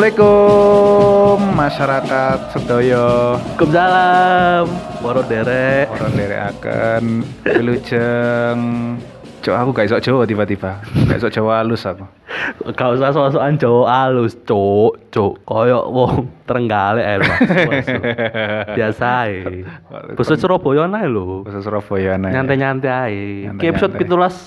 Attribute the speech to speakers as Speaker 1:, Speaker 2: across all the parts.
Speaker 1: Assalamualaikum masyarakat sedaya
Speaker 2: Waalaikumsalam. Waro derek.
Speaker 1: orang dari akan wilujeng Cok aku gak iso Jawa tiba-tiba Gak iso Jawa halus aku
Speaker 2: Gak usah sosokan Jawa alus, cuk, cuk. Koyok wong Trenggalek ae, Mas. Biasa ae. Basa Surabaya ae lho.
Speaker 1: Bahasa Surabaya aneh
Speaker 2: Nyantai-nyantai
Speaker 1: Nyantai-nyantai.
Speaker 2: ae.
Speaker 1: Hmm.
Speaker 2: Ki episode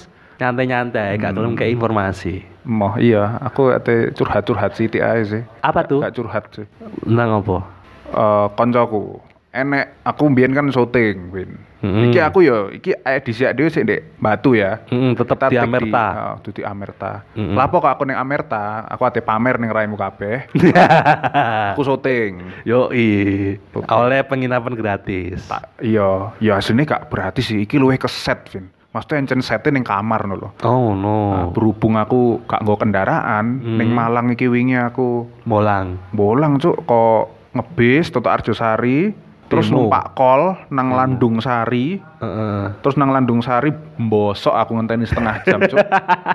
Speaker 2: 17 nyantai-nyantai, gak gelem kayak informasi.
Speaker 1: Moh iya aku ate curhat-curhat sithik ae sih
Speaker 2: Apa tuh?
Speaker 1: Gak curhat sih
Speaker 2: Nang apa?
Speaker 1: Eh koncoku enek aku mbiyen kan syuting Win
Speaker 2: Mm-mm.
Speaker 1: Iki aku yo iki edisi dhewe sik Ndek Batu ya
Speaker 2: Heeh, Hmm, tetep
Speaker 1: Tetap
Speaker 2: di Amerta.
Speaker 1: Oh, di Amerta.
Speaker 2: Mm-mm.
Speaker 1: Lapo kok aku ning Amerta, aku ate pamer ning raimu kabeh. Aku syuting.
Speaker 2: Yoi. Oleh penginapan gratis.
Speaker 1: Iya, ya aslinya gak berarti sih iki luwih keset, Vin. Maksudnya encen sete ning kamar no lho. Nah, Ah,
Speaker 2: Oh no.
Speaker 1: Berhubung aku gak nggo kendaraan, ning Malang iki wingi aku
Speaker 2: Molang.
Speaker 1: bolang cuk kok ngebis Toto Arjosari, terus
Speaker 2: Timo.
Speaker 1: numpak kol nang Landung Sari,
Speaker 2: Heeh.
Speaker 1: terus nang Landung Sari mbosok aku ngenteni setengah jam cuk.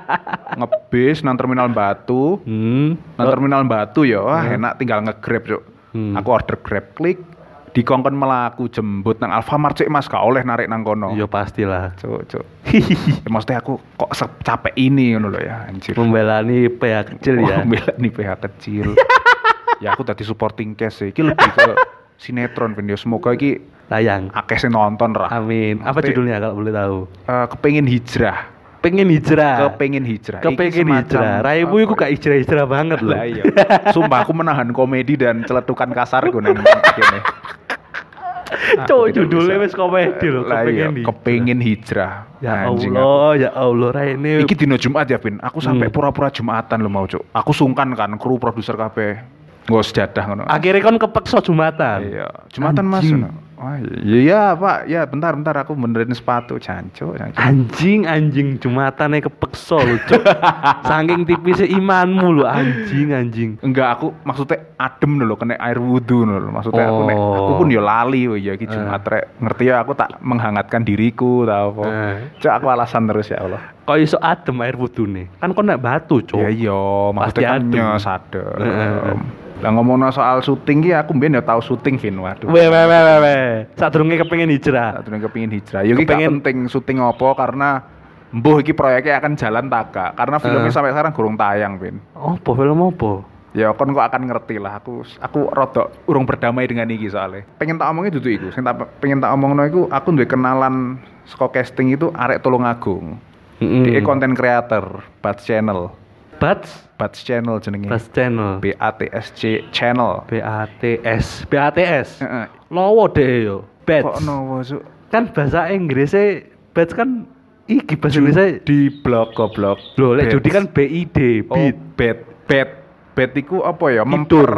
Speaker 1: ngebis nang terminal Batu,
Speaker 2: Hmm.
Speaker 1: Nah, terminal Batu ya, wah enak tinggal nge-grab, Cuk. Aku order Grab klik, dikongkon melaku jembut nang Alfamart cek Mas, gak oleh narik nang kono.
Speaker 2: Yo Ya pastilah.
Speaker 1: Cuk, cuk. Ya, maksudnya aku kok secapek ini ngono lho ya, anjir.
Speaker 2: membelani PA kecil
Speaker 1: Wah,
Speaker 2: ya.
Speaker 1: bela nih PH kecil. ya aku tadi supporting case sih. Iki lebih ke sinetron video semoga iki
Speaker 2: Tayang.
Speaker 1: akeh sing nonton ra.
Speaker 2: Amin. Apa
Speaker 1: Maksudnya-
Speaker 2: judulnya kalau boleh tahu?
Speaker 1: Eh, kepengin hijrah,
Speaker 2: Pengen hijrah.
Speaker 1: kepengin hijrah. Iki
Speaker 2: Kepengen
Speaker 1: semacam-
Speaker 2: Ah. hijrah. Raimu iku gak hijrah-hijrah banget loh.
Speaker 1: Lah iya. Sumpah aku menahan komedi dan celetukan kasar gue nang kene.
Speaker 2: Cok judulnya wis komedi
Speaker 1: Eh,
Speaker 2: loh,
Speaker 1: Kepengin
Speaker 2: kepengen hijrah.
Speaker 1: kepengin iya, hijrah.
Speaker 2: Ya
Speaker 1: Anjing, aku-
Speaker 2: Allah, Hmm. ya Allah Raine.
Speaker 1: Iki dino Jumat ya, Pin. Aku sampai pura-pura Jumatan lo mau, Cuk. Aku sungkan kan kru produser kabeh. Nggo sejadah ngono.
Speaker 2: Akhirnya kon kepeksa Jumatan.
Speaker 1: Iya, Jumatan Mas.
Speaker 2: Ah, Anjing.
Speaker 1: ngono. Wah, iya, Pak. Ya, bentar bentar aku benerin sepatu, jancu, jancu.
Speaker 2: Anjing anjing Jumatane kepeksa lho, Cok. Saking tipisnya imanmu lho, anjing anjing.
Speaker 1: Enggak, aku maksudnya adem lho, kena air wudhu lho. Maksudnya aku nek
Speaker 2: Oh. Eh.
Speaker 1: aku pun yo lali oh ya iki Jumat rek. Ngerti ya aku tak menghangatkan diriku tau apa.
Speaker 2: Eh.
Speaker 1: Cuk, aku alasan terus ya Allah.
Speaker 2: Kok iso adem air wudune? Kan kon nek batu, Cok.
Speaker 1: Ya iya,
Speaker 2: Pasti
Speaker 1: maksudnya kan
Speaker 2: adem.
Speaker 1: nyes adem.
Speaker 2: Heeh.
Speaker 1: Lah ngomongno soal syuting ki aku mbiyen ya tau syuting Vin, waduh.
Speaker 2: Weh weh weh weh, weh. Sadurunge kepengin hijrah.
Speaker 1: Satu yang kepingin hijrah. Yo iki gak
Speaker 2: Kepingin-
Speaker 1: penting syuting apa karena mbuh iki proyeknya akan jalan taka karena filmnya
Speaker 2: Eh.
Speaker 1: sampai sekarang gurung tayang, Vin.
Speaker 2: Apa film apa?
Speaker 1: Ya kon kok akan ngerti lah aku aku rodok urung berdamai dengan iki soalnya. Pengen tak omongnya duduk iku, sing tak pengen tak omongno iku aku duwe kenalan saka casting itu arek Tulungagung.
Speaker 2: Mm.
Speaker 1: Dia konten creator, Bats Channel.
Speaker 2: Bats
Speaker 1: Bats Channel jenenge.
Speaker 2: Bats Channel.
Speaker 1: B A T S C Channel.
Speaker 2: BATS. BATS.
Speaker 1: Heeh.
Speaker 2: Lowo deh yo.
Speaker 1: Kok
Speaker 2: Bats.
Speaker 1: nopo, Cuk?
Speaker 2: Kan bahasa Inggrisnya Bats kan iki bahasa Inggrisnya
Speaker 1: Di blog goblok.
Speaker 2: Loh, lek
Speaker 1: Bats.
Speaker 2: judi kan BID,
Speaker 1: Oh,
Speaker 2: beat.
Speaker 1: bet bet bet iku apa ya?
Speaker 2: Tidur.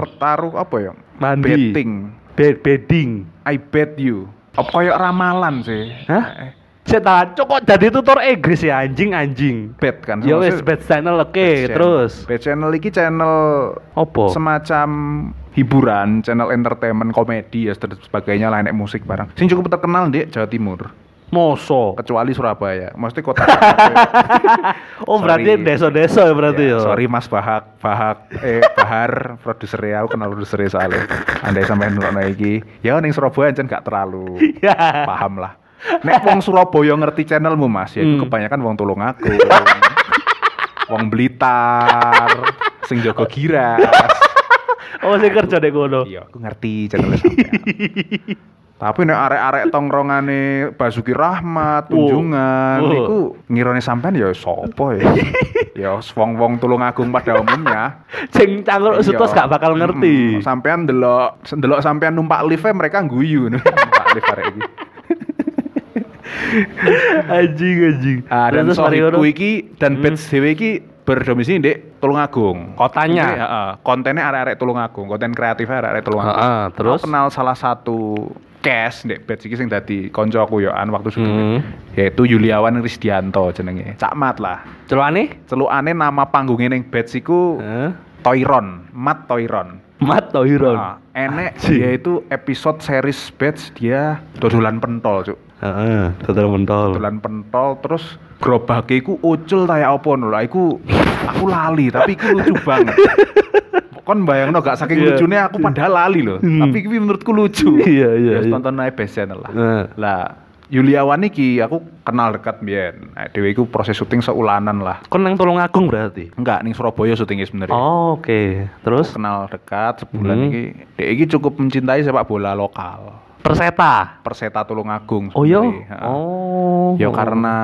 Speaker 1: Mempertaruh apa ya?
Speaker 2: Mandi.
Speaker 1: Betting.
Speaker 2: Bed bedding.
Speaker 1: I bet you. Apa koyo ramalan sih?
Speaker 2: Hah? Saya tahan, Cok, kok jadi tutor Inggris ya anjing anjing.
Speaker 1: Bet kan.
Speaker 2: Ya wis
Speaker 1: Maksudnya
Speaker 2: Bats Channel oke,
Speaker 1: channel.
Speaker 2: terus. Oh.
Speaker 1: Bet channel iki channel
Speaker 2: Opo?
Speaker 1: semacam hiburan, channel entertainment, komedi ya dan sebagainya lah enek musik barang. Sing cukup terkenal di Jawa Timur,
Speaker 2: Moso.
Speaker 1: kecuali Surabaya. Maksudnya kota
Speaker 2: Oh, berarti
Speaker 1: Sorry.
Speaker 2: deso-deso ya berarti
Speaker 1: Ya,
Speaker 2: yo.
Speaker 1: Sorry Mas Bahak, Bahak eh Bahar produser aku kenal produser soalnya. Andai sampai ngelokno iki, ya ning Surabaya ancen gak terlalu
Speaker 2: Ya.
Speaker 1: paham lah. Nek wong Surabaya ngerti channelmu Mas, ya itu
Speaker 2: Hmm.
Speaker 1: kebanyakan wong Tulungagung. wong Blitar, sing jaga giras.
Speaker 2: Oh, sing kerja nek ngono.
Speaker 1: Iya, aku ngerti channelnya sampean. Tapi nek arek-arek tongkrongane Basuki Rahmat,
Speaker 2: Wow.
Speaker 1: Tunjungan,
Speaker 2: Wow.
Speaker 1: iku ngirone sampean ya sapa ya? ya wong-wong Tulungagung pada umumnya.
Speaker 2: Sing cangkruk sutos
Speaker 1: Iya.
Speaker 2: gak bakal ngerti.
Speaker 1: Mm-mm. Sampean delok delok sampean numpak lift e, mereka guyu numpak lift arek iki.
Speaker 2: anjing anjing.
Speaker 1: Ah, dan
Speaker 2: Terus mari
Speaker 1: Sohibku
Speaker 2: ngono. Hmm.
Speaker 1: iki dan Bats dhewe iki berdomisili di Tulungagung.
Speaker 2: Kotanya.
Speaker 1: Ini, heeh, kontennya arek-arek Tulungagung, konten kreatifnya arek-arek Tulungagung.
Speaker 2: Heeh, Ah, terus?
Speaker 1: Aku kenal salah satu cast ndek Bats iki sing dadi kanca aku yoan waktu
Speaker 2: Hmm.
Speaker 1: syuting. Yaitu Yuliawan Krisdianto jenenge. Cak Mat lah.
Speaker 2: Celane?
Speaker 1: Celukane nama panggungnya ning Bats iku
Speaker 2: Heeh.
Speaker 1: Toiron, Mat Toiron. Nah,
Speaker 2: Mat Tohiron.
Speaker 1: enek
Speaker 2: Anjing.
Speaker 1: dia itu episode series batch dia dodolan pentol cuk
Speaker 2: Heeh, Ah. total mentol.
Speaker 1: dodolan pentol terus ya gerobake iku ucul kaya apa ngono lho iku aku lali tapi iku lucu banget Kok kon bayangno gak saking
Speaker 2: Iya.
Speaker 1: lucune aku padahal lali loh.
Speaker 2: Hmm.
Speaker 1: Tapi iki menurutku lucu.
Speaker 2: Iya, iya,
Speaker 1: Terus
Speaker 2: iya.
Speaker 1: tonton ae best channel lah.
Speaker 2: Nah.
Speaker 1: Lah Yuliawan iki aku kenal dekat mbiyen. Nah, dhewe iku proses syuting seulanan lah.
Speaker 2: Kon nang tolong agung berarti.
Speaker 1: Enggak, ning Surabaya syutingnya sebenarnya.
Speaker 2: Oh, oke. Terus
Speaker 1: kenal dekat sebulan
Speaker 2: Hmm.
Speaker 1: iki. Dek iki cukup mencintai sepak bola lokal.
Speaker 2: Perseta.
Speaker 1: Perseta Tulungagung.
Speaker 2: Oh iya.
Speaker 1: sebenarnya. Ha.
Speaker 2: Oh.
Speaker 1: Ya karena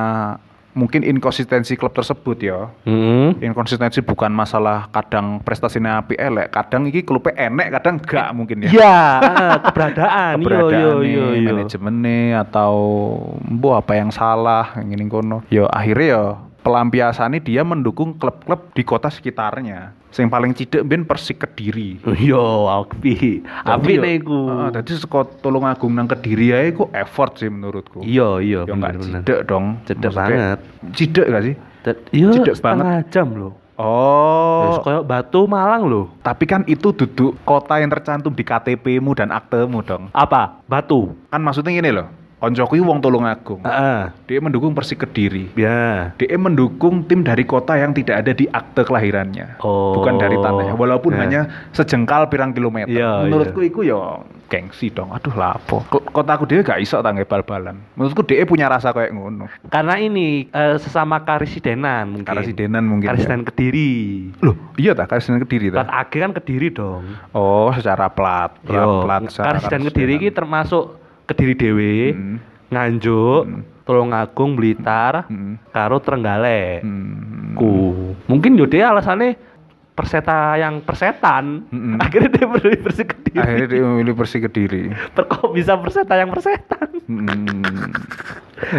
Speaker 1: mungkin inkonsistensi klub tersebut ya.
Speaker 2: Hmm.
Speaker 1: Inkonsistensi bukan masalah kadang prestasinya api elek, kadang iki klubnya enek, kadang enggak mungkin ya.
Speaker 2: Iya, ah, keberadaan. iya, Yo yo
Speaker 1: Keberadaannya,
Speaker 2: yo yo.
Speaker 1: manajemennya atau bu apa yang salah yang ini kono. Yo akhirnya yo pelampiasannya dia mendukung klub-klub di kota sekitarnya. Yang paling cidek ben Persik Kediri.
Speaker 2: Yo, api.
Speaker 1: Jadi yo-
Speaker 2: Api Iya, nih iku.
Speaker 1: Heeh, Dadi seko Tulungagung nang Kediri ae iku effort sih menurutku.
Speaker 2: Iya, iya
Speaker 1: Ya
Speaker 2: bener
Speaker 1: enggak
Speaker 2: bener.
Speaker 1: cidek dong.
Speaker 2: Cedek
Speaker 1: Maksudnya,
Speaker 2: banget.
Speaker 1: Cidek gak sih?
Speaker 2: Tet- Iya,
Speaker 1: Cedek
Speaker 2: setengah jam loh. Terus
Speaker 1: Oh.
Speaker 2: koyo Batu Malang loh.
Speaker 1: Tapi kan itu duduk kota yang tercantum di KTP-mu dan aktemu dong.
Speaker 2: Apa? Batu. Ah,
Speaker 1: Kan maksudnya gini loh. Koncoku iki wong Tulungagung.
Speaker 2: Heeh.
Speaker 1: Dia mendukung Persik Kediri.
Speaker 2: Ya.
Speaker 1: Dia mendukung tim dari kota yang tidak ada di akte kelahirannya.
Speaker 2: Oh.
Speaker 1: Bukan dari tanahnya, walaupun
Speaker 2: Ya.
Speaker 1: hanya sejengkal pirang kilometer.
Speaker 2: Iya,
Speaker 1: Menurutku iku ya gengsi dong. Aduh lapo. Ko- Kotaku dia gak iso tangge bal-balan. Menurutku dia punya rasa kayak ngono.
Speaker 2: Karena ini eh, sesidengan karisidenan mungkin.
Speaker 1: Karasidenan mungkin. ya.
Speaker 2: Karisidenan Kediri.
Speaker 1: Loh, iya ta Karasidenan Kediri
Speaker 2: Plat
Speaker 1: ta?
Speaker 2: AG kan Kediri dong.
Speaker 1: Oh, secara plat, plat, plat. secara
Speaker 2: Karisidenan Kediri ini termasuk Kediri dewe,
Speaker 1: Hmm.
Speaker 2: Nganjuk,
Speaker 1: Hmm.
Speaker 2: Tulungagung, Blitar,
Speaker 1: Hmm.
Speaker 2: karo Trenggalek.
Speaker 1: Hmm.
Speaker 2: Ku. Mungkin yo dia alasannya perseta yang persetan.
Speaker 1: Mm-mm.
Speaker 2: Akhirnya dia berdiri bersih
Speaker 1: Hmm.
Speaker 2: Kediri.
Speaker 1: Akhirnya dia memilih Persik Kediri.
Speaker 2: Perkok bisa perseta yang persetan.
Speaker 1: Hmm.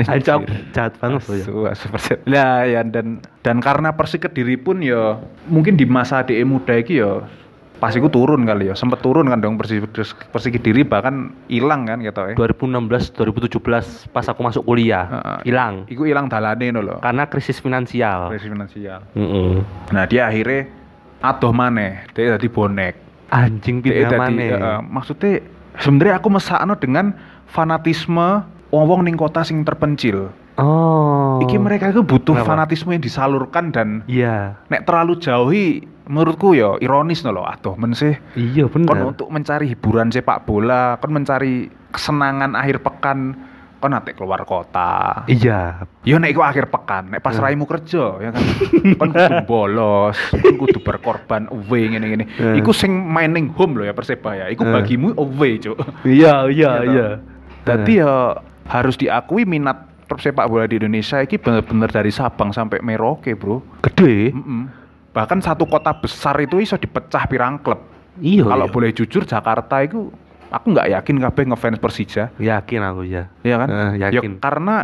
Speaker 2: Ancam jahat banget loh ya.
Speaker 1: Asu, asu Persik. Lah ya dan dan karena Persik Kediri pun ya mungkin di masa DE muda iki ya pasti ku turun kali ya. Sempet turun kan dong Persik Persik Kediri bahkan hilang kan gitu ya.
Speaker 2: 2016 2017 pas aku masuk kuliah
Speaker 1: Heeh.
Speaker 2: hilang
Speaker 1: Iku hilang dalane ngono lho.
Speaker 2: karena krisis finansial.
Speaker 1: Krisis finansial.
Speaker 2: Mm-mm.
Speaker 1: Nah, dia akhirnya adoh maneh, dia jadi bonek.
Speaker 2: Anjing
Speaker 1: Dia
Speaker 2: pindah
Speaker 1: dadi, eh,
Speaker 2: mana? ya?
Speaker 1: maksudnya sebenarnya aku mesakno dengan fanatisme wong-wong ning kota sing terpencil.
Speaker 2: Oh.
Speaker 1: Iki mereka itu butuh
Speaker 2: Kenapa?
Speaker 1: fanatisme yang disalurkan dan
Speaker 2: Iya.
Speaker 1: nek terlalu jauhi menurutku ya ironis no loh aduh men sih
Speaker 2: Iya
Speaker 1: kon
Speaker 2: bener.
Speaker 1: Oh, untuk mencari hiburan sepak bola kon mencari kesenangan akhir pekan kon nanti keluar kota
Speaker 2: Iya.
Speaker 1: Yo Ya nek iku akhir pekan, nek pas
Speaker 2: Hmm.
Speaker 1: raimu kerja ya kan. kon kudu bolos, kon kudu berkorban away ngene-ngene.
Speaker 2: Hmm.
Speaker 1: Iku sing mining home loh ya Persebaya. Iku
Speaker 2: Hmm.
Speaker 1: bagimu away, Cuk.
Speaker 2: Iya iya
Speaker 1: Iya,
Speaker 2: iya.
Speaker 1: Dadi ya harus diakui minat sepak bola di Indonesia iki bener-bener dari Sabang sampai Merauke, Bro.
Speaker 2: gede.
Speaker 1: Mm-mm. Bahkan satu kota besar itu iso dipecah pirang klub.
Speaker 2: Iya.
Speaker 1: Kalau
Speaker 2: iya.
Speaker 1: boleh jujur Jakarta itu aku nggak yakin kabeh ngefans Persija,
Speaker 2: yakin aku ya.
Speaker 1: ya kan?
Speaker 2: Eh, yakin.
Speaker 1: Ya, karena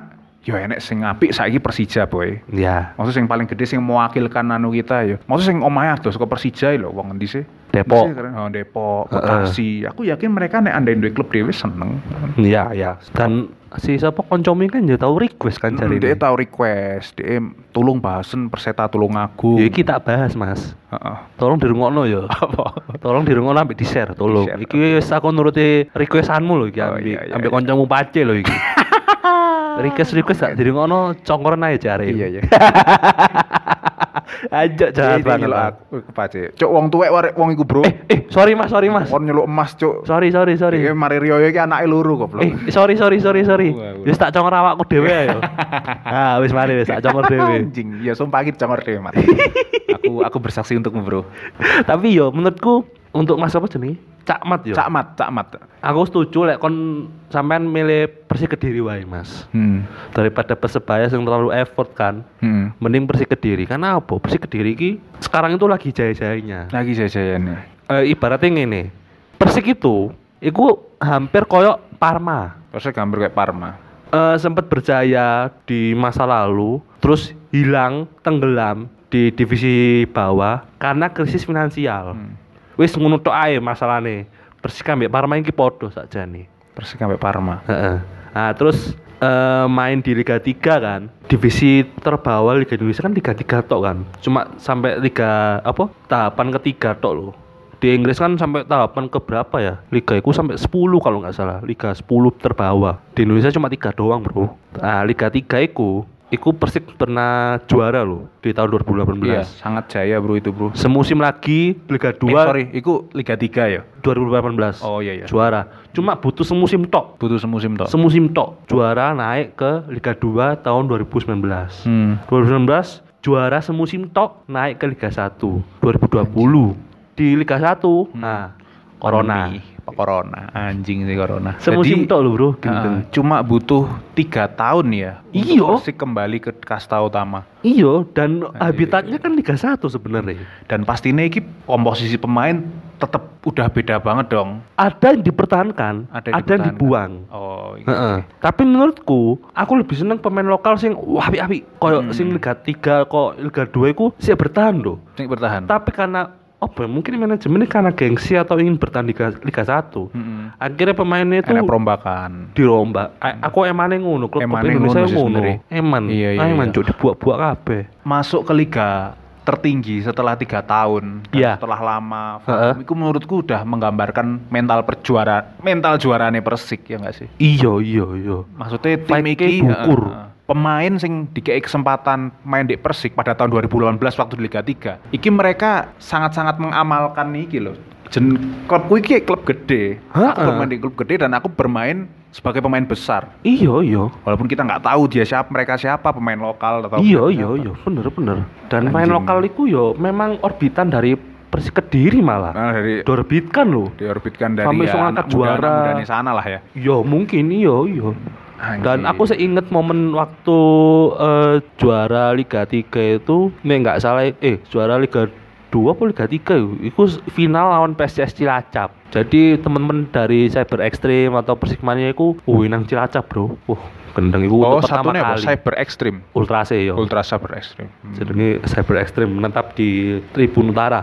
Speaker 1: ya enek sing apik saiki Persija, boy.
Speaker 2: Ya.
Speaker 1: Maksud sing paling gede sing mewakilkan anu kita ya. Maksud sing omahe adoh saka Persija lho, wong endi sih?
Speaker 2: Depok.
Speaker 1: Endi sih? Oh, Depok,
Speaker 2: Heeh.
Speaker 1: Bekasi. Aku yakin mereka nek andai duwe klub dhewe seneng.
Speaker 2: Iya iya. Dan si siapa koncomi kan ya tahu request kan
Speaker 1: Mm,
Speaker 2: cari
Speaker 1: Dia
Speaker 2: ini.
Speaker 1: tahu request, dia tolong bahasen Perseta tolong aku.
Speaker 2: Ya kita bahas mas.
Speaker 1: Heeh.
Speaker 2: Tolong dirungokno ya.
Speaker 1: Apa?
Speaker 2: Tolong dirungokno ambek di-share tolong.
Speaker 1: Di-share,
Speaker 2: Iki wis aku nuruti requestanmu lho iki
Speaker 1: Oh,
Speaker 2: ambek
Speaker 1: iya, iya,
Speaker 2: ambek
Speaker 1: iya.
Speaker 2: kancamu pace lho iki. request request gak dirungokno congkoran ae jare.
Speaker 1: Iya, iya.
Speaker 2: Ajak jahat
Speaker 1: Jangan
Speaker 2: banget.
Speaker 1: nyeluk
Speaker 2: Mas.
Speaker 1: aku kepace. Cuk wong tuwek warek wong iku, Bro.
Speaker 2: Eh, eh, sorry Mas, sorry Mas.
Speaker 1: Kon nyeluk emas, Cuk.
Speaker 2: Sorry, sorry, sorry.
Speaker 1: Iki mari riyoyo iki anake loro goblok.
Speaker 2: Eh, sorry, sorry, sorry, sorry.
Speaker 1: Wah, wah.
Speaker 2: Wis tak congor awakku dhewe ayo. Ah, wis mari wis tak congor dhewe.
Speaker 1: Anjing, ya sumpah iki congor dhewe, Mas. aku aku bersaksi untukmu, Bro.
Speaker 2: Tapi yo menurutku untuk Mas apa jenenge? Cak Mat yo.
Speaker 1: Cakmat, cakmat.
Speaker 2: Aku setuju lek kon sampean milih Persik Kediri wae, Mas.
Speaker 1: Hmm.
Speaker 2: Daripada Persebaya yang terlalu effort kan.
Speaker 1: Hmm.
Speaker 2: mending Persik Kediri karena apa Persik Kediri ki sekarang itu lagi jaya-jayanya
Speaker 1: Lagi jajayane.
Speaker 2: Eh, ibaratnya ngene Persik itu itu hampir koyok Parma
Speaker 1: Terus gambar kayak Parma.
Speaker 2: Eh, sempat berjaya di masa lalu terus hilang tenggelam di divisi bawah karena krisis finansial
Speaker 1: Hmm.
Speaker 2: wis ngono tok ae masalahnya Persik ambek Parma iki podo saja nih
Speaker 1: Persik sampai Parma.
Speaker 2: Heeh. Nah, terus eh, main di Liga 3 kan. Divisi terbawah Liga Indonesia kan Liga 3 tok kan. Cuma sampai Liga apa? Tahapan ketiga tok loh. Di Inggris kan sampai tahapan ke berapa ya? Liga itu sampai 10 kalau nggak salah. Ah, Liga 10 terbawah. Di Indonesia cuma tiga doang, Bro. Nah, Liga 3 itu Iku Persik pernah juara loh di tahun 2018.
Speaker 1: Iya, sangat jaya bro itu bro.
Speaker 2: Semusim lagi Liga 2
Speaker 1: Iya. Eh, sorry, itu Liga 3 ya.
Speaker 2: 2018.
Speaker 1: Oh, iya, iya.
Speaker 2: Juara. Cuma butuh semusim tok.
Speaker 1: Butuh semusim toh.
Speaker 2: Semusim tok. Juara naik ke Liga 2 tahun 2019.
Speaker 1: hmm.
Speaker 2: 2019 juara semusim tok naik ke Liga 1 2020 di Liga 1
Speaker 1: Hmm.
Speaker 2: nah corona
Speaker 1: Pandemi. Corona, anjing sih corona.
Speaker 2: semusim
Speaker 1: Jadi,
Speaker 2: tok loh bro gitu.
Speaker 1: Heeh,
Speaker 2: gendeng
Speaker 1: cuma butuh tiga tahun ya. untuk
Speaker 2: Iya.
Speaker 1: Persik kembali ke kasta utama.
Speaker 2: iyo dan habitatnya kan Liga 1 sebenarnya
Speaker 1: Dan pastinya ini komposisi pemain tetap udah beda banget dong.
Speaker 2: ada yang dipertahankan ada yang,
Speaker 1: dipertahankan.
Speaker 2: dibuang
Speaker 1: Oh, iya.
Speaker 2: Heeh. Tapi menurutku, aku lebih seneng pemain lokal sing wah api-api.
Speaker 1: Hmm.
Speaker 2: Koyo sing Liga 3 kok Liga 2 iku sih bertahan loh.
Speaker 1: Ini bertahan.
Speaker 2: Hmm. Tapi karena apa? ya, Mungkin manajemennya karena gengsi atau ingin bertahan di Liga, Liga 1.
Speaker 1: Mm-mm.
Speaker 2: Akhirnya pemainnya itu
Speaker 1: Enak perombakan.
Speaker 2: dirombak. A-
Speaker 1: Hmm.
Speaker 2: Aku emane ngono, klub klub
Speaker 1: Emane
Speaker 2: Indonesia
Speaker 1: ngono sih
Speaker 2: ngono.
Speaker 1: sebenarnya.
Speaker 2: Eman.
Speaker 1: Iya, iya,
Speaker 2: Ah, Eman
Speaker 1: iya.
Speaker 2: cuk dibuak-buak kabeh.
Speaker 1: Masuk ke liga tertinggi setelah tiga tahun Dan
Speaker 2: Iya.
Speaker 1: setelah lama
Speaker 2: Heeh.
Speaker 1: itu menurutku udah menggambarkan mental perjuara mental juarane Persik ya enggak sih
Speaker 2: Iya, iya, iya.
Speaker 1: maksudnya tim
Speaker 2: Fight-nya
Speaker 1: iki
Speaker 2: dukur.
Speaker 1: heeh, pemain sing dikei kesempatan main di Persik pada tahun 2018 waktu di Liga 3 iki mereka sangat-sangat mengamalkan iki loh Jen, klubku iki klub gede aku
Speaker 2: Heeh.
Speaker 1: bermain di klub gede dan aku bermain sebagai pemain besar
Speaker 2: Iya, iya.
Speaker 1: walaupun kita nggak tahu dia siapa mereka siapa pemain lokal atau
Speaker 2: Iya,
Speaker 1: pemain
Speaker 2: iya,
Speaker 1: apa.
Speaker 2: iya. Bener, bener. Dan main
Speaker 1: Anjing.
Speaker 2: lokal iku yo memang orbitan dari Persik Kediri malah.
Speaker 1: Nah, dari
Speaker 2: Dorbitkan loh.
Speaker 1: diorbitkan dari
Speaker 2: Sampai semangat juara.
Speaker 1: muda di sana lah ya
Speaker 2: Yo mungkin iya, iyo iyo. Dan
Speaker 1: Anjing.
Speaker 2: aku seinget momen waktu eh, juara Liga 3 itu, nih nggak salah, eh juara Liga 2 apa Liga 3 itu final lawan PSS Cilacap. Jadi temen-temen dari Cyber Extreme atau Persik Mania itu, wih nang Cilacap bro. Wah, gendeng itu
Speaker 1: oh
Speaker 2: untuk pertama
Speaker 1: satunya apa
Speaker 2: kali.
Speaker 1: cyber extreme
Speaker 2: Ultra C yo.
Speaker 1: ultra cyber extreme Hmm.
Speaker 2: Jenenge Cyber Extreme menetap di Tribun Utara.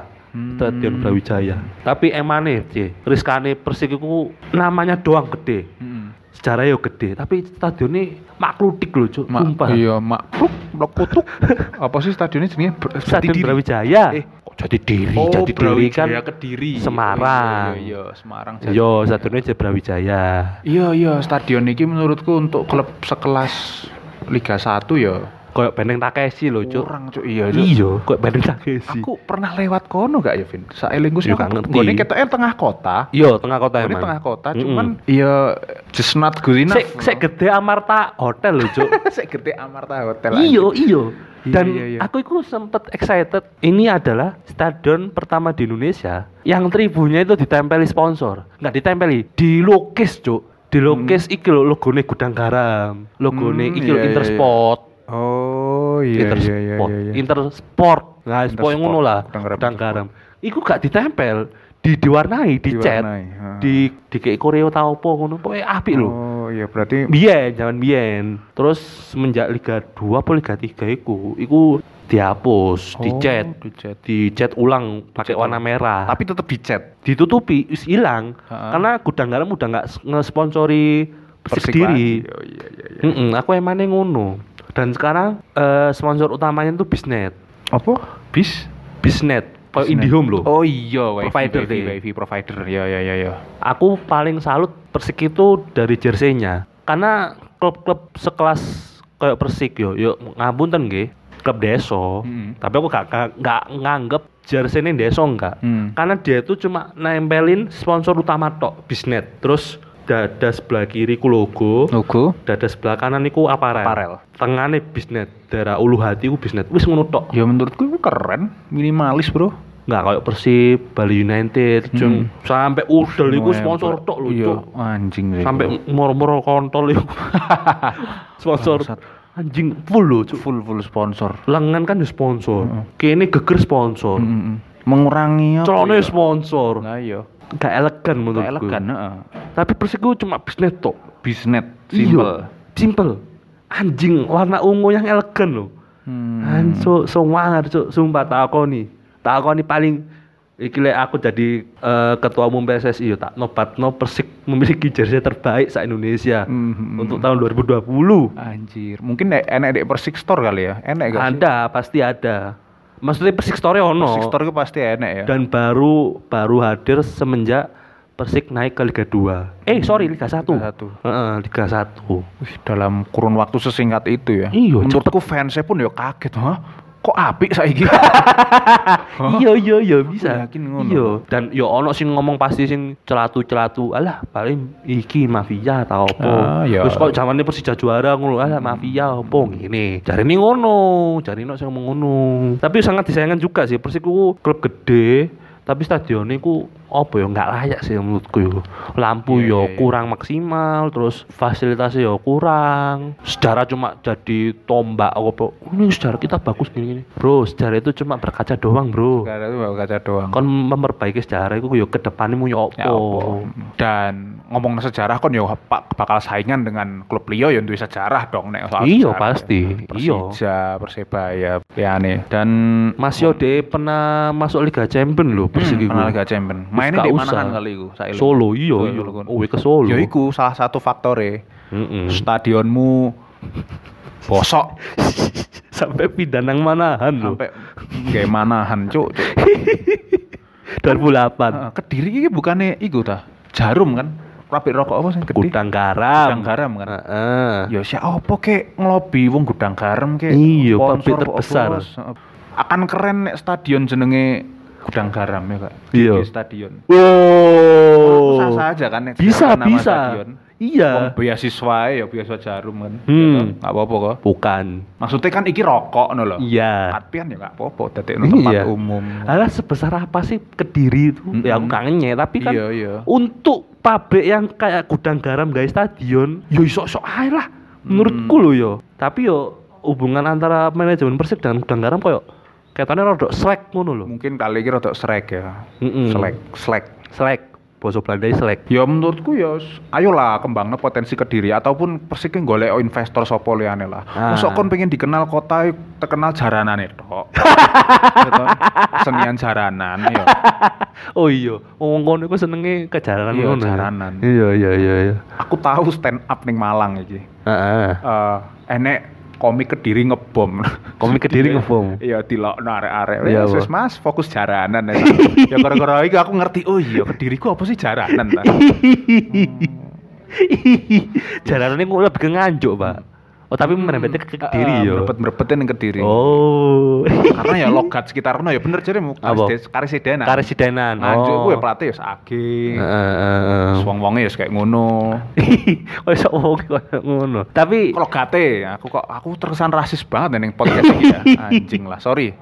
Speaker 2: Stadion Brawijaya. Tapi emane, Cie, riskane Persik itu namanya doang gede
Speaker 1: Hmm.
Speaker 2: sejarah yo gede tapi stadion ini makludik loh cuk
Speaker 1: Mak,
Speaker 2: sumpah
Speaker 1: Iya, mak pluk, blok putuk. Apa sih stadionnya jenisnya? Ber-
Speaker 2: stadion
Speaker 1: Jati Diri.
Speaker 2: Brawijaya
Speaker 1: Eh,
Speaker 2: kok jadi diri
Speaker 1: Oh,
Speaker 2: jadi diri kan
Speaker 1: Brawijaya Kediri.
Speaker 2: Semarang.
Speaker 1: Oh, Iya, iya, iya, Semarang. Jati-
Speaker 2: yo stadionnya jadi Brawijaya
Speaker 1: Iya, iya, stadion ini menurutku untuk klub sekelas Liga 1 ya.
Speaker 2: koyok Benteng Takeshi loh cuk
Speaker 1: Kurang, Cuk. Iya, Cuk.
Speaker 2: iya koyok Benteng Takeshi
Speaker 1: Aku pernah lewat kono gak ya, Vin? Saelingku
Speaker 2: Iya, gak ngerti.
Speaker 1: Gone ketoke tengah kota.
Speaker 2: yo tengah kota
Speaker 1: Gone
Speaker 2: emang
Speaker 1: tengah kota,
Speaker 2: Mm-mm.
Speaker 1: cuman iya just not good enough.
Speaker 2: sek sek gede Amarta Hotel loh cuk
Speaker 1: Sek gede Amarta Hotel.
Speaker 2: iyo
Speaker 1: anjing.
Speaker 2: iyo
Speaker 1: Iya,
Speaker 2: dan
Speaker 1: iya, iya.
Speaker 2: aku itu sempet excited ini adalah stadion pertama di Indonesia yang tribunnya itu ditempeli sponsor nggak ditempeli dilukis cuk dilukis iki lo logone gudang garam logone
Speaker 1: Hmm,
Speaker 2: iki
Speaker 1: iya,
Speaker 2: lo
Speaker 1: iya,
Speaker 2: intersport
Speaker 1: Oh, iya iya iya
Speaker 2: intersport
Speaker 1: iya.
Speaker 2: intersport nah sport
Speaker 1: Intersport,
Speaker 2: yang ngono lah
Speaker 1: gudang garam,
Speaker 2: gudang garam iku gak ditempel di diwarnai dicat
Speaker 1: Diwarnai, ha.
Speaker 2: di di kayak koreo tau apa ngono pokoknya apik lho
Speaker 1: Oh, iya berarti
Speaker 2: Biyen, zaman biyen. Terus semenjak Liga 2 apa Liga 3 iku, iku dihapus,
Speaker 1: Oh,
Speaker 2: dicet,
Speaker 1: dicet.
Speaker 2: dicet ulang pakai warna merah.
Speaker 1: tapi tetap dicet.
Speaker 2: ditutupi wis hilang
Speaker 1: Ha-ha.
Speaker 2: karena gudang garam udah nggak s- ngesponsori Persik
Speaker 1: sendiri
Speaker 2: diri.
Speaker 1: iya,
Speaker 2: Mm-mm, aku emane ngono. Dan sekarang eh, sponsor utamanya itu Bisnet.
Speaker 1: Apa? Bis?
Speaker 2: Bisnet, kayak
Speaker 1: Bisnet.
Speaker 2: Indihome loh.
Speaker 1: Oh iya, wifi,
Speaker 2: Provider
Speaker 1: wifi,
Speaker 2: deh.
Speaker 1: wifi provider. Ya ya ya ya.
Speaker 2: Aku paling salut Persik itu dari jersey-nya. Karena klub-klub sekelas kayak Persik yo, yo ngapunten nggih, klub deso.
Speaker 1: Mm-mm.
Speaker 2: Tapi aku gak gak, gak nganggep jersey ini deso enggak.
Speaker 1: Hmm.
Speaker 2: Karena dia itu cuma nempelin sponsor utama tok, Bisnet. Terus dada sebelah kiri ku logo,
Speaker 1: Logo.
Speaker 2: dada sebelah kanan iku
Speaker 1: Oh.
Speaker 2: aparel.
Speaker 1: Aparel.
Speaker 2: Tengahnya Bisnet, daerah ulu hati ku Bisnet. Wis ngono tok.
Speaker 1: Ya menurutku itu keren, minimalis, Bro.
Speaker 2: nggak kayak Persib, Bali
Speaker 1: Hmm.
Speaker 2: United, cung sampai udel iku sponsor tok lho,
Speaker 1: Oh, Iya,
Speaker 2: Cuk.
Speaker 1: anjing sih.
Speaker 2: sampai
Speaker 1: Bro.
Speaker 2: moro-moro kontol itu sponsor
Speaker 1: Bangsat.
Speaker 2: anjing full loh cuk
Speaker 1: full full sponsor.
Speaker 2: lengan kan ya sponsor kini geger sponsor
Speaker 1: Mm-mm. Mengurangi
Speaker 2: Hmm. celana ya
Speaker 1: ya?
Speaker 2: sponsor
Speaker 1: Hmm. Nah, iya.
Speaker 2: gak elegan menurut
Speaker 1: Gak elegan, nah. heeh.
Speaker 2: tapi persik gue cuma bisnet tok
Speaker 1: Bisnet
Speaker 2: Iya, simple anjing warna ungu yang elegan loh
Speaker 1: Hmm.
Speaker 2: Anco, semangat cuk, sumpah takoni. Takoni paling iki lek aku jadi eh, ketua umum PSSI yo tak nobatno Persik memiliki jersey terbaik sa Indonesia
Speaker 1: Mhm.
Speaker 2: untuk tahun 2020.
Speaker 1: Anjir, mungkin e- enak di Persik Store kali ya? Enak gak sih?
Speaker 2: Ada, pasti ada.
Speaker 1: Anu.
Speaker 2: Maksudnya Persik Store ono
Speaker 1: ya. Persik Store itu pasti enak ya?
Speaker 2: dan baru baru hadir semenjak Persik naik ke Liga 2. Eh, sorry Liga 1.
Speaker 1: Hmm. Liga 1.
Speaker 2: Heeh, Liga 1.
Speaker 1: Wih, dalam kurun waktu sesingkat itu ya.
Speaker 2: Iya,
Speaker 1: Menurutku fansnya pun ya kaget, hah? Kok apik saiki? Hah?
Speaker 2: Iya iya iya bisa.
Speaker 1: yakin ngono.
Speaker 2: Iya dan yo ono sing ngomong pasti sing celatu-celatu. Alah paling iki mafia ta opo.
Speaker 1: Ah, iya.
Speaker 2: Terus kok zamane Persija juara ngono alah mafia opo ngene. Jarine ngono, jarine sing ngomong ngono. Tapi sangat disayangkan juga sih Persik ku klub gede tapi stadionnya ku opo ya nggak layak sih menurutku yo. Lampu
Speaker 1: Iya,
Speaker 2: yo
Speaker 1: iya, iya.
Speaker 2: kurang maksimal, terus fasilitasnya yo kurang. Sejarah cuma jadi tombak opo. Ini sejarah kita bagus gini-gini. Bro, sejarah itu cuma berkaca doang, Bro
Speaker 1: Gak ada tuh bawa kaca doang.
Speaker 2: kon memperbaiki sejarah iku yo ke depane mu yo
Speaker 1: Ya
Speaker 2: opo.
Speaker 1: apa? Dan ngomong sejarah kon ya pak bakal saingan dengan klub liya ya duwe sejarah dong nek soal sejarah.
Speaker 2: Iya, pasti. Iya.
Speaker 1: ya. Persija, Persebaya, liyane. Dan
Speaker 2: Mas yo de pernah masuk Liga Champion lho Persik
Speaker 1: hmm,
Speaker 2: iku.
Speaker 1: pernah Liga Champion. Mainnya di
Speaker 2: gak usah.
Speaker 1: mana kali iku? saiki?
Speaker 2: Solo iya iya.
Speaker 1: kon.
Speaker 2: Oh, ke Solo.
Speaker 1: Ya iku salah satu faktore.
Speaker 2: Mm-mm.
Speaker 1: Stadionmu bosok
Speaker 2: Sampai pindah nang manahan lho. Iya.
Speaker 1: sampai kayak manahan cuk. cuk.
Speaker 2: 2008.
Speaker 1: Heeh, Kediri iki bukannya iku ta? Jarum kan? Pabrik rokok apa sing gede?
Speaker 2: Gudang garam.
Speaker 1: Gudang garam kan?
Speaker 2: Heeh.
Speaker 1: Ya siapa apa kek ngelobi wong gudang garam kek.
Speaker 2: Iya, pabrik
Speaker 1: sponsor apa
Speaker 2: terbesar.
Speaker 1: bos. Heeh. Akan keren nek stadion jenenge gudang garam ya kak.
Speaker 2: Iya.
Speaker 1: Di stadion.
Speaker 2: Wow.
Speaker 1: Sah sah aja kan nek
Speaker 2: Bisa
Speaker 1: sekarang nama
Speaker 2: bisa. Iya.
Speaker 1: Wong beasiswa ya beasiswa jarum kan.
Speaker 2: Hmm.
Speaker 1: Ya kan? Nggak apa-apa kok.
Speaker 2: Bukan.
Speaker 1: Maksudnya kan iki rokok no lho.
Speaker 2: Iya.
Speaker 1: Tapi kan ya nggak apa-apa. Tadi tempat
Speaker 2: Iya.
Speaker 1: umum.
Speaker 2: Alah sebesar apa sih Kediri itu? Ya aku
Speaker 1: Mm-mm.
Speaker 2: kangen ya, tapi kan
Speaker 1: Iya, iya.
Speaker 2: untuk pabrik yang kayak gudang garam guys stadion, yo sok-sok ae lah menurutku lo yo. Tapi yo hubungan antara manajemen Persib dan gudang garam koyo ketane rodok slack ngono lho.
Speaker 1: Mungkin kali iki rada srek ya.
Speaker 2: Mm-mm.
Speaker 1: Selek, selek.
Speaker 2: Slack, basa Belanda e slack.
Speaker 1: Ya menurutku ya s- ayolah kembangnya potensi Kediri ataupun Persik yang golek investor sopo liyane lah.
Speaker 2: Ah.
Speaker 1: Mosok kon pengen dikenal kota yuk terkenal jaranane tok. Gitu. Senian jaranan ya.
Speaker 2: Oh iya, wong kono iku senenge kejaranan
Speaker 1: Iya,
Speaker 2: ngono. ya.
Speaker 1: jaranan.
Speaker 2: Iya iya iya iya.
Speaker 1: Aku tahu stand up ning Malang iki.
Speaker 2: Heeh.
Speaker 1: Eh enek komik Kediri ngebom.
Speaker 2: Komik Kediri ngebom.
Speaker 1: Iya dilokno arek-arek. Ya
Speaker 2: Iya,
Speaker 1: wis Mas, fokus jaranan ya. ya gara-gara iki aku ngerti, oh iya Kediriku apa sih jaranan
Speaker 2: Iya,
Speaker 1: ta.
Speaker 2: Jalanane kok lebih ke nganjuk, Pak. Oh, tapi merembetnya ke Kediri yo.
Speaker 1: Merepet-merepetin ning Kediri.
Speaker 2: Oh.
Speaker 1: karena ya logat sekitar kono ya bener jadi mau
Speaker 2: Apa?
Speaker 1: karesidenan
Speaker 2: Karesidenan.
Speaker 1: lanjut
Speaker 2: oh.
Speaker 1: gue pelatih ya sage wong wongnya ya kayak ngono
Speaker 2: Kok iso ngomong koyo ngono. Tapi
Speaker 1: kalau gate aku kok aku terkesan rasis banget nih podcast ini ya anjing lah sorry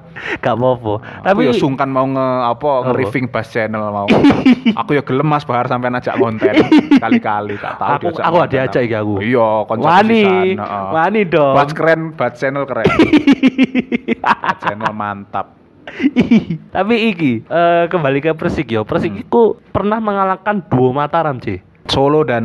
Speaker 2: gak apa-apa. Tapi
Speaker 1: tapi aku ya sungkan mau nge apa nge riffing bass channel mau aku ya gelem mas bahar sampai ajak konten kali-kali gak tahu
Speaker 2: Aku- aku gak diajak iki aku.
Speaker 1: iya konser
Speaker 2: Wani.
Speaker 1: pisan, heeh.
Speaker 2: Wani dong.
Speaker 1: bass keren bass channel keren bass channel mantap
Speaker 2: tapi iki eh, kembali ke Persik yo. Persik
Speaker 1: Hmm.
Speaker 2: iku pernah mengalahkan dua Mataram, sih
Speaker 1: Solo dan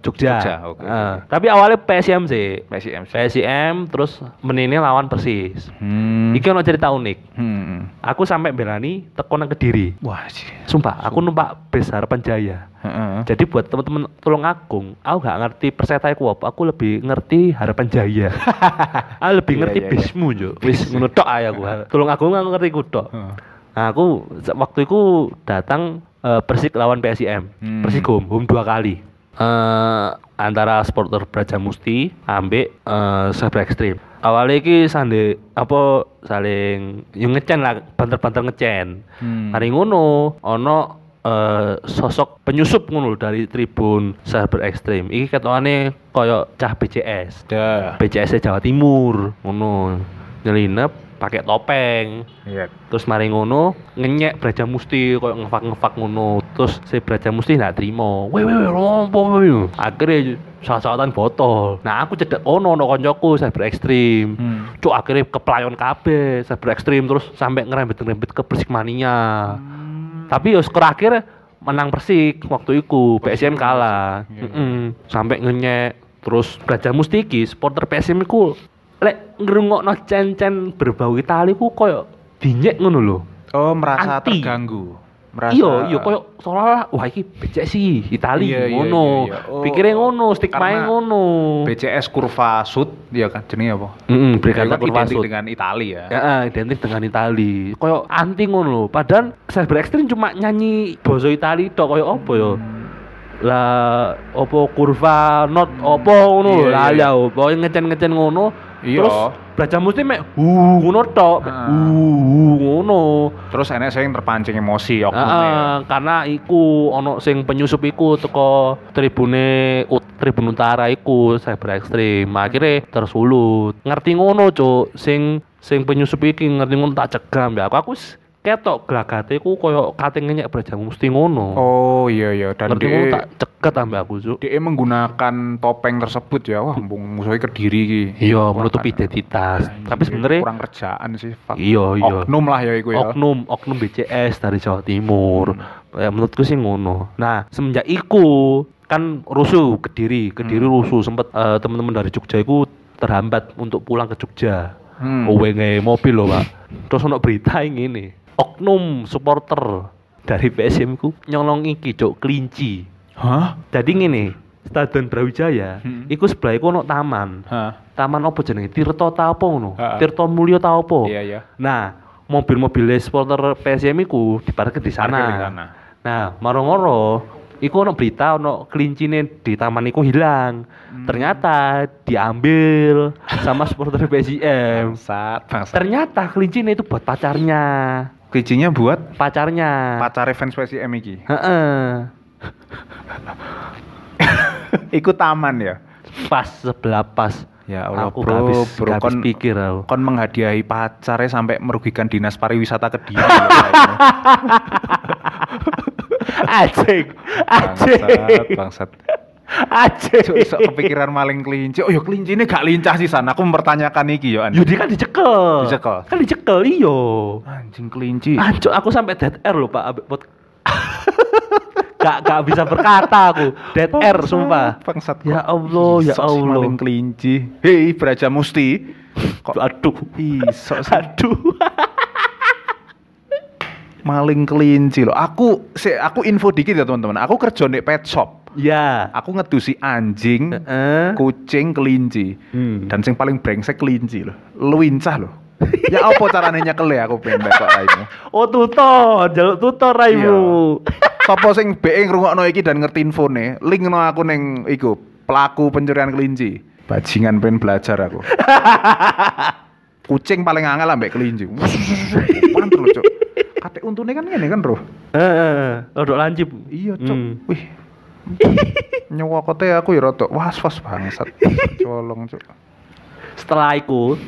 Speaker 2: Jogja.
Speaker 1: oke.
Speaker 2: Eh, tapi awalnya PSM sih.
Speaker 1: PSIM sih.
Speaker 2: PSM terus menini lawan Persis.
Speaker 1: Hmm.
Speaker 2: Iki ono cerita unik.
Speaker 1: Hmm.
Speaker 2: Aku sampai belani teko nang Kediri.
Speaker 1: Wah sih.
Speaker 2: Sumpah, aku numpak bus harapan jaya.
Speaker 1: Heeh.
Speaker 2: Jadi buat teman-teman tolong agung, aku nggak ngerti persetae ku apa, aku lebih ngerti harapan jaya. aku lebih
Speaker 1: Iya,
Speaker 2: ngerti
Speaker 1: iya, iya.
Speaker 2: bismu yo. Wis ngono tok ae aku. Tolong agung aku ngerti ku tok.
Speaker 1: Heeh.
Speaker 2: Nah, aku se- waktu itu datang eh, Persik lawan PSIM.
Speaker 1: Hmm.
Speaker 2: Persik home, home dua kali. Eh antara supporter Braja Musti ambek eh Sabra Ekstrim. Awalnya iki sande apa saling yo ngecen lah banter-banter ngecen.
Speaker 1: Hmm.
Speaker 2: Hari ngono ono eh, sosok penyusup ngono lho dari Tribun Cyber Ekstrim. Iki ketokane koyo cah BCS.
Speaker 1: Dah.
Speaker 2: BCS -nya e Jawa Timur ngono. Nyelinep pakai topeng.
Speaker 1: Iya.
Speaker 2: Terus mari ngono ngenyek Braja Musti koyo ngefak-ngefak ngono. Terus si Braja Musti nggak terima. Weh weh weh rompo weh. Akhirnya saut-sautan botol. Nah aku cedek ono ono koncoku Cyber Ekstrim.
Speaker 1: Hmm.
Speaker 2: Cuk akhirnya keplayon kabeh, cyber ekstrim terus sampai ngerembet-ngerembet ke Persik Mania.
Speaker 1: Hmm.
Speaker 2: Tapi ya skor akhir menang Persik waktu itu, PSM kalah.
Speaker 1: Iya.
Speaker 2: Mm-mm. Sampai ngenyek terus Gajah Mustiki supporter PSM iku lek ngrungokno cen-cen berbau Itali ku koyo dinyek ngono lho.
Speaker 1: Oh merasa
Speaker 2: Anti.
Speaker 1: terganggu. merasa
Speaker 2: Iya, iya koyo seolah-olah wah iki becek sih Itali
Speaker 1: Iya, iya,
Speaker 2: ngono.
Speaker 1: iya, iya. Oh,
Speaker 2: Pikirnya ngono,
Speaker 1: karena
Speaker 2: stigma ngono.
Speaker 1: BCS kurva sud ya kan jenenge apa?
Speaker 2: Heeh,
Speaker 1: Ya
Speaker 2: berkata
Speaker 1: kan identik
Speaker 2: kurvasut.
Speaker 1: dengan Itali ya.
Speaker 2: Ya, eh, identik dengan Itali. Koyo anti ngono lho. Padahal Cyber Extreme cuma nyanyi basa Itali tok koyo apa ya? Lah opo kurva not opo ngono lho.
Speaker 1: Iya,
Speaker 2: Lah
Speaker 1: iya,
Speaker 2: ya opo ngecen-ngecen ngono.
Speaker 1: Iya.
Speaker 2: Terus belajar musik mek uh ngono tok. mek,
Speaker 1: Ah.
Speaker 2: Uh ngono.
Speaker 1: Terus enek sing terpancing
Speaker 2: Ah,
Speaker 1: emosi oknum
Speaker 2: Heeh, karena iku ono sing penyusup iku teko tribune ut, tribun utara iku cyber ekstrim akhirnya tersuluh ngerti ngono cuk sing sing penyusup iki ngerti ngono tak cegam ya aku aku wis ketok gelagate ku koyo kating nyek berjam mesti ngono
Speaker 1: Oh iya iya dan
Speaker 2: ngerti ngono tak
Speaker 1: dia
Speaker 2: cegat ambek aku cuk
Speaker 1: dia menggunakan topeng tersebut ya wah musuh musuhnya kediri ki.
Speaker 2: iya
Speaker 1: Wah,
Speaker 2: menutupi
Speaker 1: kan.
Speaker 2: identitas tapi
Speaker 1: Iya,
Speaker 2: sebenarnya
Speaker 1: kurang kerjaan sih Pak.
Speaker 2: iya iya
Speaker 1: Oknum lah ya iku ya. Hmm.
Speaker 2: oknum oknum BCS dari Jawa Timur ya, menurutku sih ngono nah semenjak iku kan rusuh kediri kediri
Speaker 1: Hmm.
Speaker 2: rusuh sempet eh, teman-teman dari Jogja itu terhambat untuk pulang ke Jogja
Speaker 1: Hmm.
Speaker 2: Oh, Owenge mobil loh pak terus ono berita yang ini oknum supporter dari PSM ku nyolong iki cok kelinci
Speaker 1: Hah?
Speaker 2: jadi ngene Stadion Brawijaya
Speaker 1: Hmm.
Speaker 2: iku sebelah iku ono taman
Speaker 1: Hah.
Speaker 2: taman apa jenenge Tirto ta apa ngono
Speaker 1: Ha-ha.
Speaker 2: Tirto Mulyo ta apa
Speaker 1: Iya iya.
Speaker 2: Nah, mobil-mobil supporter PSM iku diparkir di sana.
Speaker 1: Parkir di sana.
Speaker 2: Nah, moro-moro iku ono berita ono kelincine di taman iku hilang.
Speaker 1: Hmm.
Speaker 2: Ternyata diambil sama supporter PSM.
Speaker 1: Bangsat, bangsat.
Speaker 2: Ternyata kelincine itu buat pacarnya.
Speaker 1: Kuncinya buat
Speaker 2: Pacarnya.
Speaker 1: pacar fans PSM iki.
Speaker 2: Heeh.
Speaker 1: Iku taman ya.
Speaker 2: Pas sebelah pas.
Speaker 1: Ya Allah,
Speaker 2: aku
Speaker 1: bro,
Speaker 2: gak habis,
Speaker 1: bro,
Speaker 2: gak habis
Speaker 1: kon-
Speaker 2: pikir aku.
Speaker 1: Kon menghadiahi pacarnya sampai merugikan dinas pariwisata Kediri. loh, Allah.
Speaker 2: Acik, acik,
Speaker 1: bangsat, bangsat.
Speaker 2: acik.
Speaker 1: Cuk, iso kepikiran maling kelinci. Oh, ya kelinci ini gak lincah sih sana. Aku mempertanyakan iki yo.
Speaker 2: Yudi kan dicekel.
Speaker 1: Dicekel.
Speaker 2: Kan dicekel iyo.
Speaker 1: Anjing kelinci.
Speaker 2: Ancuk aku sampai dead air loh Pak ambek pod- gak gak bisa berkata aku. Dead air
Speaker 1: Bangsat,
Speaker 2: sumpah.
Speaker 1: Bangsat.
Speaker 2: Ya
Speaker 1: kok
Speaker 2: Allah, ya
Speaker 1: iso sih
Speaker 2: Allah.
Speaker 1: Maling kelinci. Hei, Braja Musti. Kok
Speaker 2: Aduh.
Speaker 1: iso sih
Speaker 2: Aduh.
Speaker 1: maling kelinci loh. Aku se aku info dikit ya, teman-teman. Aku kerja di pet shop.
Speaker 2: ya.
Speaker 1: Aku ngedusi anjing,
Speaker 2: Heeh.
Speaker 1: kucing, kelinci.
Speaker 2: Hmm.
Speaker 1: Dan sing paling brengsek kelinci loh. Luincah loh. ya apa carane nyekel ya aku pengen kok raimu.
Speaker 2: Oh tutor, jaluk tutor raimu.
Speaker 1: Sopo sing BE ngrungokno iki dan ngerti infone, linkno aku ning iku pelaku pencurian kelinci. Bajingan pengen belajar aku. Kucing paling angel lah mbek kelinci. Pantes lho, Cuk. Kate untune kan ngene kan, Bro.
Speaker 2: Heeh. Rodok lancip.
Speaker 1: Iya, Cuk.
Speaker 2: Hmm.
Speaker 1: Wih. Nyawa kote aku ya rada was-was bangsat. Colong, Cuk.
Speaker 2: Setelah itu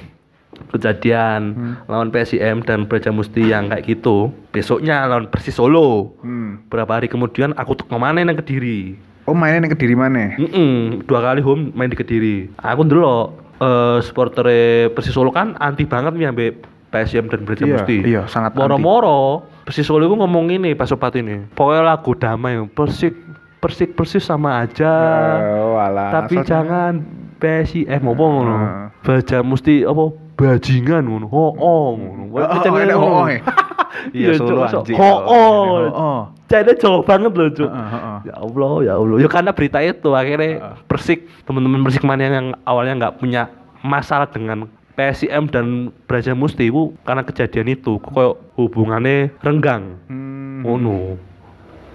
Speaker 2: kejadian lawan PSIM dan Braja Musti yang kayak gitu besoknya lawan Persis Solo
Speaker 1: Hmm.
Speaker 2: berapa hari kemudian aku teko maneh nang Kediri
Speaker 1: Oh, mainnya ning Kediri mana?
Speaker 2: Mm-mm, dua kali home main di Kediri. Aku ndelok eh supporter Persis Solo kan anti banget nih ambek PSM dan Braja
Speaker 1: Iya,
Speaker 2: Musti.
Speaker 1: iya, sangat anti.
Speaker 2: Moro-moro Persis Solo itu ngomong ini pas opat ini. Pokoknya lagu damai Persik Persik Persis sama aja.
Speaker 1: Oh, alah.
Speaker 2: tapi
Speaker 1: Asal-
Speaker 2: jangan PSIM eh, apa ngono.
Speaker 1: Heeh.
Speaker 2: Braja Musti apa bajingan ngono. Ho oh ngono.
Speaker 1: Oh, oh,
Speaker 2: Kecengnya
Speaker 1: enak,
Speaker 2: ngono.
Speaker 1: ho-oh, eh. Iya,
Speaker 2: Cuk,
Speaker 1: Solo,
Speaker 2: masuk,
Speaker 1: anjing.
Speaker 2: Ho
Speaker 1: Ho-oh.
Speaker 2: oh. China jauh banget loh, Cuk.
Speaker 1: Heeh, heeh.
Speaker 2: Ya Allah, ya Allah. Ya karena berita itu
Speaker 1: Ah.
Speaker 2: akhirnya Persik, teman-teman Persik mania yang awalnya nggak punya masalah dengan PSIM dan Braja Musti itu karena kejadian itu kok hubungannya renggang.
Speaker 1: Hmm.
Speaker 2: Ngono.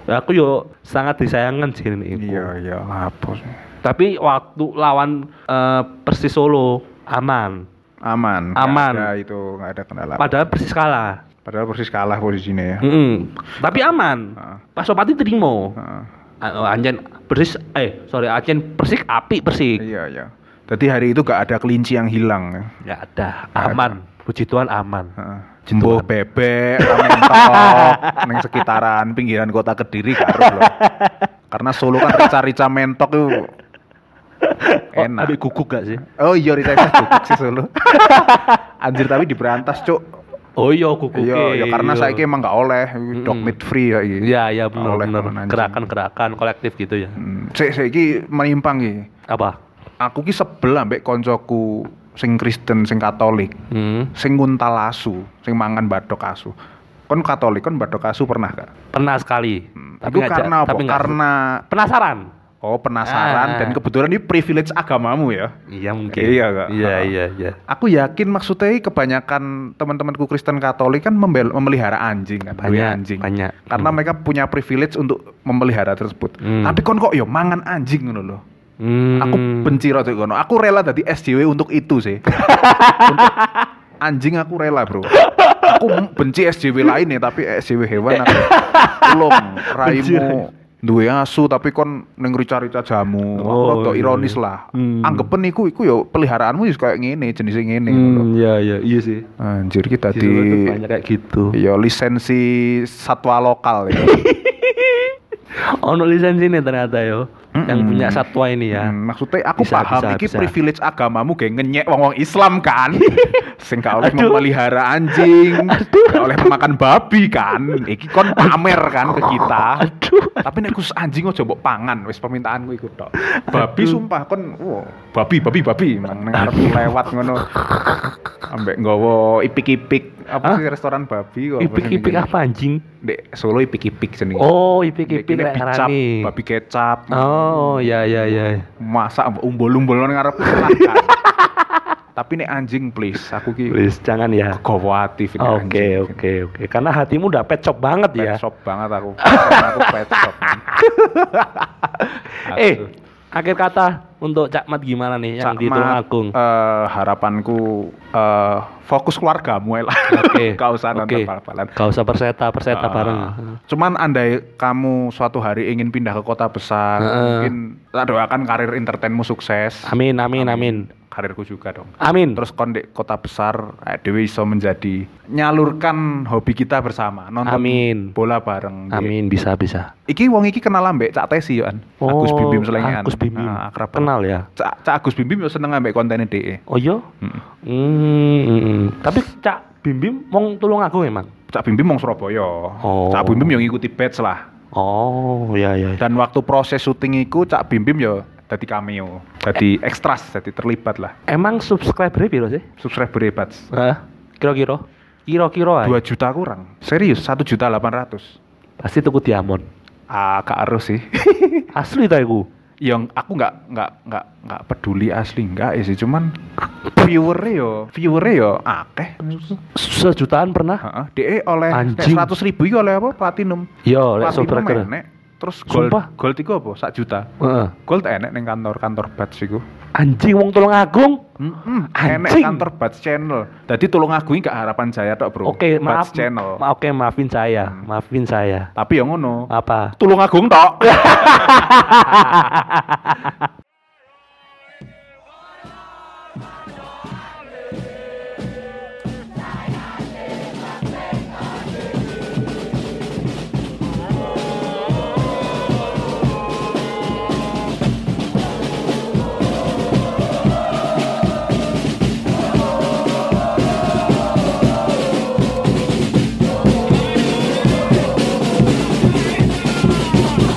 Speaker 2: Ya, aku yo sangat disayangkan sih ini. iku.
Speaker 1: Iya, iya, lapor.
Speaker 2: Tapi waktu lawan eh, Persis Solo aman.
Speaker 1: Aman. nggak
Speaker 2: Aman.
Speaker 1: Ada itu nggak ada kendala.
Speaker 2: Padahal Persis kalah.
Speaker 1: Padahal persis kalah posisinya Ah. ya. Ah.
Speaker 2: Mm-mm. Tapi aman.
Speaker 1: Heeh.
Speaker 2: Pasopati terima.
Speaker 1: Heeh.
Speaker 2: A- Anjen persis eh sorry Anjen persik api persik
Speaker 1: Iya, iya. Jadi hari itu gak ada kelinci yang hilang. ya.
Speaker 2: nggak ada aman puji Tuhan aman
Speaker 1: Heeh. Jembo bebek, ramen tok, neng sekitaran pinggiran kota Kediri karo loh. Karena Solo kan rica-rica mentok itu
Speaker 2: oh,
Speaker 1: enak.
Speaker 2: ambil guguk gak sih
Speaker 1: Oh iya rica-rica guguk sih Solo. Anjir tapi diberantas, Cuk.
Speaker 2: oh iya guguk
Speaker 1: Iya, ya karena saiki emang gak oleh dog meat free ya.
Speaker 2: ya ya benar
Speaker 1: Oleh
Speaker 2: benar
Speaker 1: makan anjing.
Speaker 2: gerakan gerakan kolektif gitu ya
Speaker 1: Hmm, Sik sik iki menyimpang iki.
Speaker 2: apa
Speaker 1: Aku ki sebel ambek koncoku sing Kristen, sing Katolik,
Speaker 2: hmm.
Speaker 1: sing nguntal asu, sing mangan bathok asu. Kon Katolik kon badhe kasu pernah gak?
Speaker 2: Pernah sekali.
Speaker 1: Hmm.
Speaker 2: Tapi
Speaker 1: Itu
Speaker 2: ngajak-
Speaker 1: karena apa?
Speaker 2: tapi nggak-
Speaker 1: Karena
Speaker 2: penasaran.
Speaker 1: oh penasaran
Speaker 2: Ah.
Speaker 1: dan kebetulan ini privilege agamamu ya.
Speaker 2: Iya mungkin.
Speaker 1: Iya, Kak.
Speaker 2: Iya
Speaker 1: Ha.
Speaker 2: iya iya.
Speaker 1: Aku yakin maksudnya kebanyakan teman-temanku Kristen Katolik kan membel- memelihara anjing kan, duwe
Speaker 2: Banyak,
Speaker 1: anjing.
Speaker 2: Iya, banyak.
Speaker 1: Karena
Speaker 2: Hmm.
Speaker 1: mereka punya privilege untuk memelihara tersebut.
Speaker 2: Hmm.
Speaker 1: Tapi kon kok yo mangan anjing ngono loh.
Speaker 2: Hmm.
Speaker 1: Aku benci rada kono. Aku rela dadi SJW untuk itu sih. untuk anjing aku rela, Bro. Aku m- benci SJW lain ya, tapi SJW hewan aku tolong
Speaker 2: Benci
Speaker 1: raimu duwe asu tapi kon ning rica-rica jamu. aku
Speaker 2: Oh,
Speaker 1: rada
Speaker 2: iya,
Speaker 1: ironis
Speaker 2: iya.
Speaker 1: lah.
Speaker 2: Hmm.
Speaker 1: Anggepen iku iku yo peliharaanmu wis kayak ngene, jenise ngene ngono lho.
Speaker 2: Hmm, iya iya iya sih.
Speaker 1: Anjir kita
Speaker 2: Di Solo tuh
Speaker 1: di
Speaker 2: banyak kayak gitu.
Speaker 1: yo lisensi satwa lokal ya.
Speaker 2: Ono lisensi nih ternyata yo. Yang
Speaker 1: Mm-mm.
Speaker 2: punya satwa ini ya.
Speaker 1: Hmm, maksudnya aku
Speaker 2: Bisa,
Speaker 1: paham
Speaker 2: bisa,
Speaker 1: iki
Speaker 2: bisa.
Speaker 1: privilege agamamu kayak ngenyek wong-wong Islam kan. Sing gak oleh
Speaker 2: Aduh.
Speaker 1: memelihara anjing, gak oleh makan babi kan. Iki kon pamer kan ke kita.
Speaker 2: Aduh.
Speaker 1: Tapi nek khusus anjing ojo mbok pangan, wis permintaanku iku tok. Babi
Speaker 2: Aduh.
Speaker 1: sumpah kon wow, babi babi babi nang nang arepku lewat ngono. Ambek nggawa ipik-ipik apa
Speaker 2: Hah?
Speaker 1: sih restoran babi kok.
Speaker 2: Ipik-ipik apa anjing?
Speaker 1: Dek Solo ipik-ipik jenenge.
Speaker 2: Oh, ipik-ipik
Speaker 1: Dek,
Speaker 2: lek
Speaker 1: ini kecap,
Speaker 2: ngarani.
Speaker 1: babi kecap.
Speaker 2: Oh, ya ya ya.
Speaker 1: masa umbol-umbol nang ngarep silahkan. tapi nek anjing please aku ki
Speaker 2: Please jangan ya.
Speaker 1: kegawa aktif ini anjing.
Speaker 2: Oke oke oke. Karena hatimu udah pet shop banget
Speaker 1: pet
Speaker 2: ya.
Speaker 1: shop banget aku aku pet shop
Speaker 2: Eh, akhir kata untuk Cak Mat gimana nih yang
Speaker 1: Cak
Speaker 2: di Tulung
Speaker 1: Mat,
Speaker 2: Agung?
Speaker 1: eh, harapanku eh, fokus keluargamu lah gak usah nonton bal-balan
Speaker 2: Gak usah perseta, perseta
Speaker 1: Ah.
Speaker 2: bareng.
Speaker 1: Cuman andai kamu suatu hari ingin pindah ke kota besar,
Speaker 2: Heeh.
Speaker 1: mungkin tak doakan karir entertainmu sukses.
Speaker 2: Amin, amin, amin.
Speaker 1: Karirku juga dong.
Speaker 2: Amin.
Speaker 1: terus kondek kota besar eh, Dewi iso menjadi nyalurkan hobi kita bersama nonton
Speaker 2: Amin.
Speaker 1: bola bareng Dek.
Speaker 2: Amin, bisa bisa.
Speaker 1: iki wong iki kenal ambek Cak Tesi yo An Agus Bimbim selengean
Speaker 2: Oh, Agus Bimbim.
Speaker 1: Ah, akrab banget.
Speaker 2: Kenal ya?
Speaker 1: Cak, Cak Agus Bimbim yo seneng ambek kontennya E. DE
Speaker 2: Oh iya?
Speaker 1: Heeh.
Speaker 2: Hmm, hmm, hmm. Tapi Cak Bimbim wong Tulung Agung emang.
Speaker 1: Cak Bimbim wong Surabaya
Speaker 2: Oh.
Speaker 1: Cak Bimbim yo ngikuti batch lah
Speaker 2: Oh, ya ya.
Speaker 1: dan waktu proses syuting iku Cak Bimbim yo dadi cameo dadi ekstras dadi terlibat lah
Speaker 2: Emang subscriber piro sih?
Speaker 1: subscriber hebat
Speaker 2: Hah? Kira-kira? Kira-kira ae.
Speaker 1: 2 juta kurang serius 1 juta 800
Speaker 2: Pasti tuku diamond.
Speaker 1: ah gak harus sih
Speaker 2: Asli ta iku.
Speaker 1: yang aku nggak nggak nggak nggak peduli asli nggak ya sih cuman viewer yo viewer yo akeh
Speaker 2: Sejutaan pernah?
Speaker 1: Heeh, DE oleh
Speaker 2: Anjing.
Speaker 1: seratus ribu iki oleh apa platinum
Speaker 2: Yo, lek
Speaker 1: platinum
Speaker 2: subscriber.
Speaker 1: enek terus gold
Speaker 2: Sumpah.
Speaker 1: gold itu apa sak juta
Speaker 2: Heeh.
Speaker 1: gold enek neng kantor kantor batch iku
Speaker 2: Anjing wong Tulung Agung.
Speaker 1: Mm-mm, enek
Speaker 2: Anjing.
Speaker 1: kantor batch channel jadi tolong aku gak harapan jaya tok bro
Speaker 2: Oke, maaf.
Speaker 1: batch channel
Speaker 2: Ma Ah. Oke, maafin saya. Maafin saya.
Speaker 1: tapi yang ngono
Speaker 2: Apa?
Speaker 1: tulung agung tok